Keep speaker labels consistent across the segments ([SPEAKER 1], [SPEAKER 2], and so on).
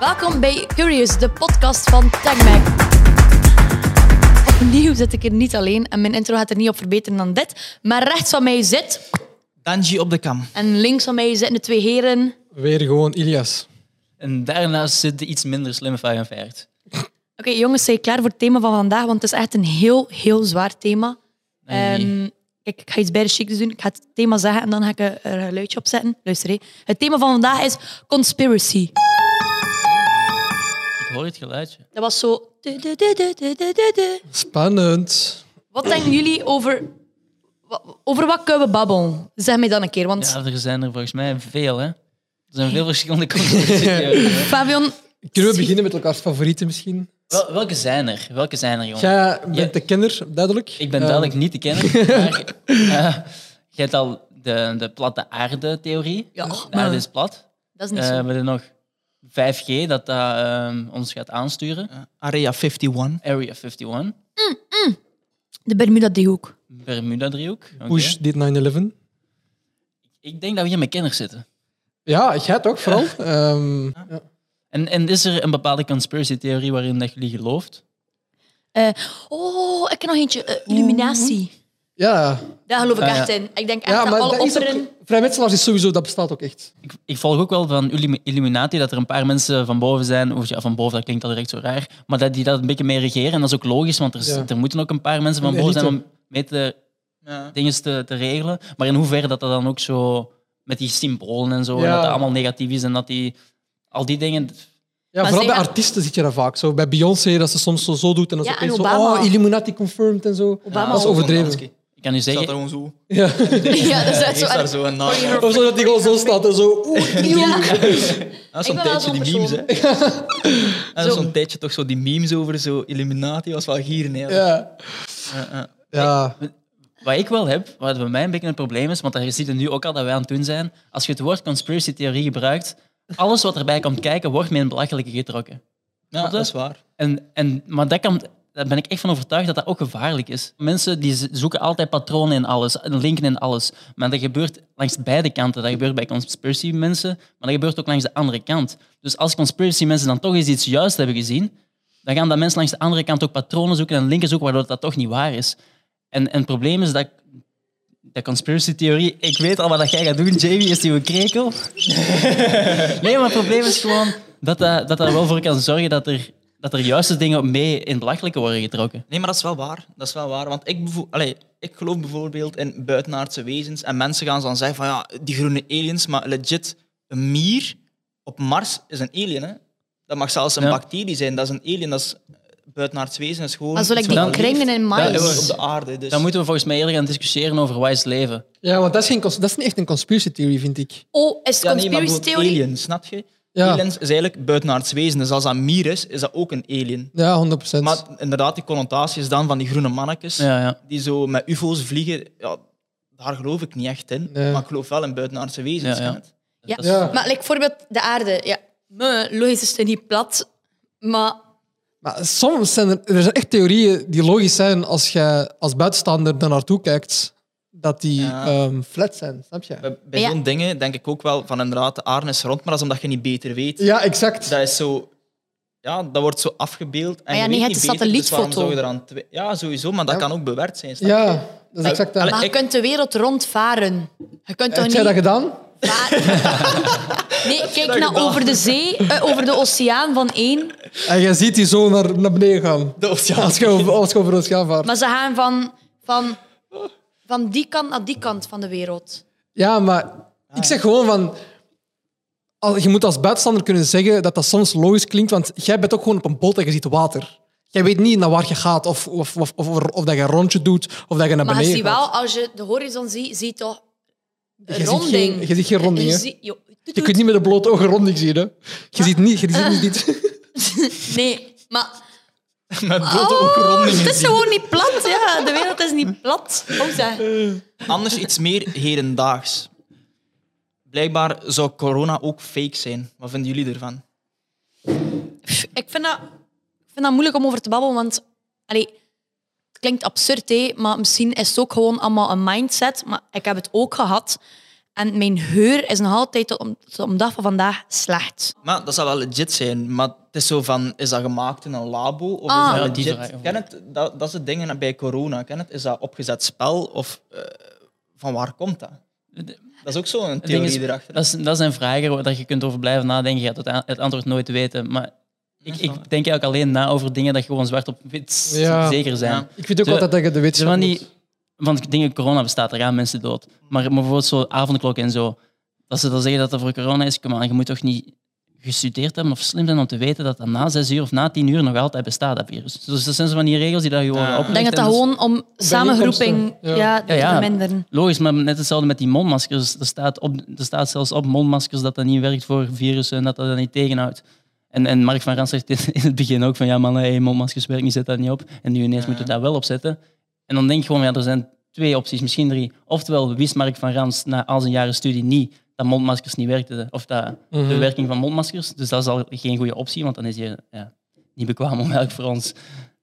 [SPEAKER 1] Welkom bij Curious, de podcast van TagMag. Opnieuw zit ik er niet alleen en mijn intro gaat er niet op verbeteren dan dit. Maar rechts van mij zit
[SPEAKER 2] Danji op de kam.
[SPEAKER 1] en links van mij zitten de twee heren.
[SPEAKER 3] Weer gewoon Ilias.
[SPEAKER 2] En daarnaast zit de iets minder slimme 45.
[SPEAKER 1] Oké, jongens, zijn klaar voor het thema van vandaag? Want het is echt een heel, heel zwaar thema.
[SPEAKER 2] Nee.
[SPEAKER 1] Ehm, kijk, ik ga iets bij de chiques doen. Ik ga het thema zeggen en dan ga ik er een geluidje op zetten. Luister, hé. het thema van vandaag is conspiracy.
[SPEAKER 2] Ik hoor het geluidje.
[SPEAKER 1] Dat was zo... du-du-du-du-du-du-du.
[SPEAKER 3] Spannend.
[SPEAKER 1] Wat denken jullie over... wa- Over wat kunnen we babbelen? Zeg mij dan een keer, want...
[SPEAKER 2] Ja, er zijn er volgens mij veel, hè? Er zijn veel verschillende conspiracytheorieën.
[SPEAKER 1] Fabian,
[SPEAKER 3] Kunnen we beginnen met elkaars favorieten misschien?
[SPEAKER 2] Wel, welke zijn er? Welke zijn er, jongen?
[SPEAKER 3] Jij bent
[SPEAKER 2] Ja.
[SPEAKER 3] de kenner, duidelijk.
[SPEAKER 2] Ik ben
[SPEAKER 3] Eh,
[SPEAKER 2] duidelijk
[SPEAKER 1] Ehm.
[SPEAKER 2] niet te kennen. Maar, eh, je hebt al de, de platte aarde-theorie.
[SPEAKER 1] Ja,
[SPEAKER 2] De aarde
[SPEAKER 1] maar-
[SPEAKER 2] is plat.
[SPEAKER 1] dat is
[SPEAKER 2] Eh,
[SPEAKER 1] niet
[SPEAKER 2] we
[SPEAKER 1] zo.
[SPEAKER 2] hebben nog 5G, dat dat ehm, ons gaat aansturen.
[SPEAKER 4] Area 51.
[SPEAKER 2] Area 51.
[SPEAKER 1] De Bermuda-driehoek.
[SPEAKER 2] Bermuda-driehoek. Oké.
[SPEAKER 3] Bush dit 9-11.
[SPEAKER 2] Ik denk dat we hier met kenners zitten.
[SPEAKER 3] Ja, jij toch vooral? Ehm, ja.
[SPEAKER 2] En, en is er een bepaalde conspiracy-theorie waarin dat jullie gelooft?
[SPEAKER 1] Eh, oh, ik heb nog eentje. eh, illuminatie.
[SPEAKER 3] ja.
[SPEAKER 1] Daar geloof ik
[SPEAKER 2] Ah, ja.
[SPEAKER 1] echt in. Ik denk echt
[SPEAKER 3] Ja,
[SPEAKER 1] dat
[SPEAKER 3] maar
[SPEAKER 1] alle
[SPEAKER 3] dat is
[SPEAKER 1] opperen...
[SPEAKER 3] ook, vrijmetselaars is sowieso, dat bestaat ook echt.
[SPEAKER 2] Ik, ik volg ook wel van Illumi- Illuminati dat er een paar mensen van boven zijn. Of ja, van boven, dat klinkt al direct zo raar. Maar dat die dat een beetje mee regeren. En dat is ook logisch, want er, is-
[SPEAKER 3] Ja.
[SPEAKER 2] er moeten ook een paar mensen van
[SPEAKER 3] Een
[SPEAKER 2] boven zijn om
[SPEAKER 3] elite.
[SPEAKER 2] mee te,
[SPEAKER 4] Ja.
[SPEAKER 2] dingen te, te regelen. Maar in hoeverre dat dat dan ook zo met die symbolen en zo. En
[SPEAKER 3] Ja.
[SPEAKER 2] dat dat allemaal negatief is en dat die. Al die dingen.
[SPEAKER 3] Ja,
[SPEAKER 1] Maar
[SPEAKER 3] vooral bij
[SPEAKER 1] zeg-
[SPEAKER 3] artiesten zit je dat vaak. Zo, bij Beyoncé, dat ze soms zo, zo doet en dan
[SPEAKER 1] Ja,
[SPEAKER 3] zo,
[SPEAKER 1] en
[SPEAKER 3] opeens zo,
[SPEAKER 1] Obama.
[SPEAKER 3] oh, Illuminati confirmed en zo.
[SPEAKER 1] Obama
[SPEAKER 3] dat is
[SPEAKER 4] Oh,
[SPEAKER 1] ook.
[SPEAKER 3] overdreven.
[SPEAKER 2] Ik kan u
[SPEAKER 4] Zat er
[SPEAKER 2] zeggen.
[SPEAKER 4] gewoon zo.
[SPEAKER 3] Ja.
[SPEAKER 1] Ja, dat is echt
[SPEAKER 4] Heeft daar
[SPEAKER 1] zo.
[SPEAKER 4] zo een naam.
[SPEAKER 3] Of zo dat die gewoon zo staat en zo. oeh.
[SPEAKER 1] Ja.
[SPEAKER 4] Dat is
[SPEAKER 1] Ik ben
[SPEAKER 4] zo'n
[SPEAKER 1] wel
[SPEAKER 4] tijdje
[SPEAKER 1] zo'n
[SPEAKER 4] die memes, hè. Dat is
[SPEAKER 1] Zo.
[SPEAKER 4] zo'n tijdje toch zo die memes over zo Illuminati was wel hier, nee.
[SPEAKER 3] Ja.
[SPEAKER 4] Eh, eh.
[SPEAKER 3] ja.
[SPEAKER 2] Wat ik wel heb, wat bij mij een beetje een probleem is, want daar ziet het nu ook al dat wij aan het doen zijn. Als je het woord conspiracy theorie gebruikt, alles wat erbij komt kijken, wordt mee een belachelijke getrokken.
[SPEAKER 4] Ja, dat is waar.
[SPEAKER 2] En, en, maar dat kan, daar ben ik echt van overtuigd dat dat ook gevaarlijk is. Mensen die z- zoeken altijd patronen in alles, en linken in alles. Maar dat gebeurt langs beide kanten. Dat gebeurt bij conspiracy mensen, maar dat gebeurt ook langs de andere kant. Dus als conspiracy mensen dan toch eens iets juist hebben gezien, dan gaan dat mensen langs de andere kant ook patronen zoeken en linken zoeken, waardoor dat toch niet waar is. En, en het probleem is dat... De conspiracy-theorie, ik weet al wat dat jij gaat doen, Jamie, is die een krekel. Nee, maar het probleem is gewoon dat eh, dat, dat, dat wel voor kan zorgen dat er, dat er juiste dingen mee in het belachelijke worden getrokken.
[SPEAKER 4] Nee, maar dat is wel waar. Dat is wel waar. Want ik, bevo- Allee, ik geloof bijvoorbeeld in buitenaardse wezens. En mensen gaan dan zeggen van ja, die groene aliens. Maar legit, een mier op Mars is een alien. Hè? Dat mag zelfs een
[SPEAKER 2] Ja.
[SPEAKER 4] bacterie zijn. Dat is een alien. Dat is eh, buitenaards wezen. Dat is gewoon.
[SPEAKER 1] Maar zo like
[SPEAKER 4] iets
[SPEAKER 1] die
[SPEAKER 4] wat leeft
[SPEAKER 1] kringen en mais.
[SPEAKER 2] Ja,
[SPEAKER 4] Op de aarde. Dus.
[SPEAKER 2] Dan moeten we volgens mij eerder gaan discussiëren over wat is leven.
[SPEAKER 3] ja, want dat is, geen, cons- dat is niet echt een conspiracy theorie, vind ik.
[SPEAKER 1] Oh, is het
[SPEAKER 4] Ja, nee, maar
[SPEAKER 1] conspiracy
[SPEAKER 4] bijvoorbeeld
[SPEAKER 1] theorie?
[SPEAKER 4] aliens, snap je?
[SPEAKER 3] Ja.
[SPEAKER 4] Aliens is eigenlijk buitenaards wezen. Dus als dat een mier is, is dat ook een alien.
[SPEAKER 3] Ja, 100%.
[SPEAKER 4] Maar inderdaad, die connotaties dan van die groene mannetjes
[SPEAKER 2] Ja, ja.
[SPEAKER 4] die zo met ufo's vliegen, ja, daar geloof ik niet echt in.
[SPEAKER 3] Nee.
[SPEAKER 4] Maar ik geloof wel in buitenaardse wezens.
[SPEAKER 2] Ja, ja.
[SPEAKER 4] hè.
[SPEAKER 1] Ja.
[SPEAKER 2] Dat is-
[SPEAKER 3] ja.
[SPEAKER 1] Maar like, bijvoorbeeld de aarde. Ja. Meh, Logisch is het niet plat, maar...
[SPEAKER 3] Maar soms zijn er, er zijn echt theorieën die logisch zijn als je als buitenstaander daar naartoe kijkt, dat die
[SPEAKER 4] Ja.
[SPEAKER 3] ehm, flat zijn, snap je?
[SPEAKER 4] Bij, bij
[SPEAKER 1] Ja.
[SPEAKER 4] zo'n dingen denk ik ook wel van inderdaad, de aarde is rond, maar dat is omdat je niet beter weet.
[SPEAKER 3] Ja, exact.
[SPEAKER 4] Dat is zo... Ja, dat wordt zo afgebeeld. En
[SPEAKER 1] ja,
[SPEAKER 4] je
[SPEAKER 1] nee,
[SPEAKER 4] weet
[SPEAKER 1] je hebt
[SPEAKER 4] niet
[SPEAKER 1] de
[SPEAKER 4] beter, dus waarom
[SPEAKER 1] satellietfoto.
[SPEAKER 4] zou je eraan twi- ja, sowieso, maar dat kan ook bewerkt zijn. snap je?
[SPEAKER 3] Ja, dat is exact.
[SPEAKER 4] Allee,
[SPEAKER 3] dat.
[SPEAKER 1] Maar je
[SPEAKER 4] ik-
[SPEAKER 1] kunt de wereld rondvaren. Je kunt toch
[SPEAKER 3] Heb
[SPEAKER 1] niet...
[SPEAKER 3] jij dat gedaan?
[SPEAKER 1] Nee, kijk nou over de zee, eh, over de oceaan van één.
[SPEAKER 3] En jij ziet die zo naar, naar beneden gaan.
[SPEAKER 4] De oceaan.
[SPEAKER 3] Als je over, als je over ons gaan vaart.
[SPEAKER 1] Maar ze gaan van, van, van die kant naar die kant van de wereld.
[SPEAKER 3] Ja, maar ik zeg gewoon van... al- Je moet als buitenstaander kunnen zeggen dat dat soms logisch klinkt, want jij bent ook gewoon op een boot en je ziet water. Jij weet niet naar waar je gaat, of, of, of, of, of dat je een rondje doet, of dat je naar
[SPEAKER 1] Maar je
[SPEAKER 3] beneden
[SPEAKER 1] ziet
[SPEAKER 3] gaat.
[SPEAKER 1] wel, als je de horizon ziet, zie je toch een
[SPEAKER 3] Je ziet
[SPEAKER 1] ronding.
[SPEAKER 3] geen- je ziet geen ronding, hè?
[SPEAKER 1] ziet- joh,
[SPEAKER 3] Je kunt niet met een blote ogen ronding zien. Hè? Je ziet niet. Je ziet dus niet.
[SPEAKER 1] Nee, maar...
[SPEAKER 4] Met blote
[SPEAKER 1] Oh, het
[SPEAKER 4] oogrondingen
[SPEAKER 1] is
[SPEAKER 4] zien.
[SPEAKER 1] gewoon niet plat. Ja, de wereld is niet plat. Oh, zeg.
[SPEAKER 4] Anders iets meer hedendaags. Blijkbaar zou corona ook fake zijn. Wat vinden jullie ervan?
[SPEAKER 1] Pff, Ik vind dat, ik vind dat moeilijk om over te babbelen, want allee, het klinkt absurd, hè, maar misschien is het ook gewoon allemaal een mindset. Maar ik heb het ook gehad. En mijn geur is nog altijd tot om, tot om dag van vandaag slecht.
[SPEAKER 4] Maar dat zou wel legit zijn. Maar het is zo van, is dat gemaakt in een labo? Of
[SPEAKER 1] Ah.
[SPEAKER 4] is
[SPEAKER 2] Ja,
[SPEAKER 4] dat
[SPEAKER 2] die
[SPEAKER 4] legit?
[SPEAKER 2] vraag.
[SPEAKER 4] Ken het, dat, dat is het ding bij corona. Ken het, is dat opgezet spel? Of eh, van waar komt dat? Dat is ook zo'n
[SPEAKER 2] Het ding
[SPEAKER 4] theorie
[SPEAKER 2] is,
[SPEAKER 4] erachter.
[SPEAKER 2] Dat, is, dat zijn vragen waar dat je kunt over blijven nadenken. Je gaat het, a- het antwoord nooit weten. Maar ik, ik denk eigenlijk alleen na over dingen dat gewoon zwart op wit
[SPEAKER 3] Ja.
[SPEAKER 2] zeker zijn.
[SPEAKER 4] Ja.
[SPEAKER 3] Ik vind ook
[SPEAKER 2] Zo-
[SPEAKER 3] altijd dat je de
[SPEAKER 2] Ze
[SPEAKER 3] wetenschap
[SPEAKER 2] van
[SPEAKER 3] moet-
[SPEAKER 2] die, Mm. want dingen, corona bestaat, er gaan mensen dood. Maar maar bijvoorbeeld zo avondklok en zo. Dat ze dan zeggen dat er voor corona is, kom aan, je moet toch niet gestudeerd hebben of slim zijn om te weten dat dat na zes uur of na tien uur nog altijd bestaat, dat virus. Dus dat zijn zo van die regels die daar gewoon
[SPEAKER 4] Ah.
[SPEAKER 2] opgelegd
[SPEAKER 1] Ik denk dat
[SPEAKER 2] en
[SPEAKER 1] dat gewoon om samengroeping ja.
[SPEAKER 3] ja.
[SPEAKER 2] Ja, ja.
[SPEAKER 1] te verminderen.
[SPEAKER 2] Logisch, maar net hetzelfde met die mondmaskers. Dus Er staat, op, er staat zelfs op mondmaskers dat dat niet werkt voor virussen en dat dat dat niet tegenhoudt. En, en Mark van Rans zegt in in het begin ook van ja man, hey, mondmaskers werken, niet, zet dat niet op. En nu ineens moeten we dat wel opzetten. En dan denk ik gewoon, ja, er zijn twee opties, misschien drie. Oftewel wist Mark van Rans na al zijn jaren studie niet dat mondmaskers niet werkten. Of dat de werking van mondmaskers. Dus dat is al geen goede optie, want dan is je ja, niet bekwaam om eigenlijk voor ons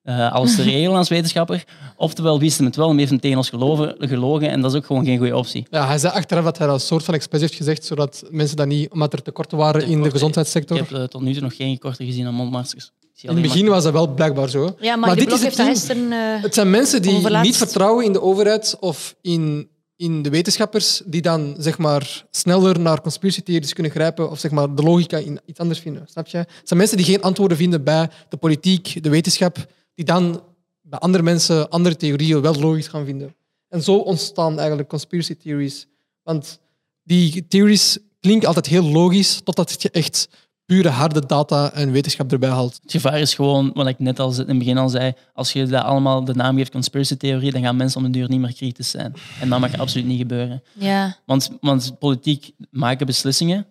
[SPEAKER 2] eh, alles te regelen als wetenschapper. Oftewel wist hem het wel, maar heeft hem tegen ons geloven, gelogen. En dat is ook gewoon geen goede optie.
[SPEAKER 3] Ja, hij zei achteraf dat hij dat een soort van expres heeft gezegd, zodat mensen dat niet, omdat er tekorten waren in de
[SPEAKER 2] Tekorten.
[SPEAKER 3] gezondheidssector.
[SPEAKER 2] Ik heb eh, tot nu toe nog geen korte gezien aan mondmaskers. Ik zie
[SPEAKER 3] in het
[SPEAKER 2] alleen
[SPEAKER 3] begin
[SPEAKER 2] maar-
[SPEAKER 3] was dat wel blijkbaar zo.
[SPEAKER 1] Ja, maar, die blog heeft dat
[SPEAKER 3] ding.
[SPEAKER 1] gisteren... eh,
[SPEAKER 3] Het zijn mensen die
[SPEAKER 1] Onverlaatst.
[SPEAKER 3] niet vertrouwen in de overheid of in, in de wetenschappers, die dan zeg maar sneller naar conspiratietheories kunnen grijpen of zeg maar de logica in iets anders vinden. Snap je? Het zijn mensen die geen antwoorden vinden bij de politiek, de wetenschap, die dan bij andere mensen andere theorieën wel logisch gaan vinden. En zo ontstaan eigenlijk conspiracy theories. Want die theories klinken altijd heel logisch, totdat je echt pure harde data en wetenschap erbij haalt.
[SPEAKER 2] Het gevaar is gewoon, wat ik net al ze- in het begin al zei, als je dat allemaal de naam geeft conspiracy theorie, dan gaan mensen om de duur niet meer kritisch zijn. En dat mag absoluut niet gebeuren.
[SPEAKER 1] ja.
[SPEAKER 2] Want, want politiek maken beslissingen.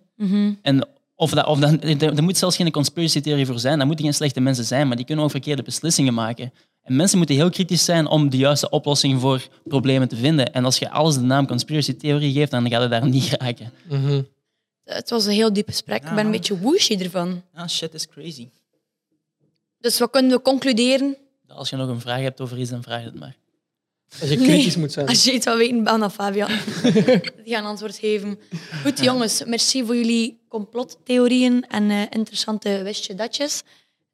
[SPEAKER 2] En of dat, of dat, er, er moet zelfs geen conspiracy theorie voor zijn. Dat moeten geen slechte mensen zijn, maar die kunnen ook verkeerde beslissingen maken. En mensen moeten heel kritisch zijn om de juiste oplossing voor problemen te vinden. En als je alles de naam conspiracy theorie geeft, dan gaat het daar niet raken.
[SPEAKER 1] Het was een heel diep gesprek. Ik ben een
[SPEAKER 4] man.
[SPEAKER 1] beetje woeshy ervan.
[SPEAKER 4] Ja, Ah, shit is crazy.
[SPEAKER 1] Dus wat kunnen we concluderen?
[SPEAKER 2] Als je nog een vraag hebt over iets, dan vraag het maar.
[SPEAKER 3] Dat je kritisch moet zijn.
[SPEAKER 1] Als je iets wil weten, bel naar Fabian. Die gaan antwoord geven. Goed, jongens. Merci voor jullie complottheorieën en eh, interessante wistje datjes.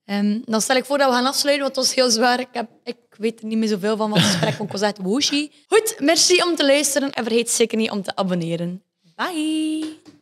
[SPEAKER 1] Ehm, dan stel ik voor dat we gaan afsluiten, want het was heel zwaar. Ik, heb, ik weet er niet meer zoveel van, van het gesprek, want ik was echt wooshy. Goed, merci om te luisteren en vergeet zeker niet om te abonneren. Bye!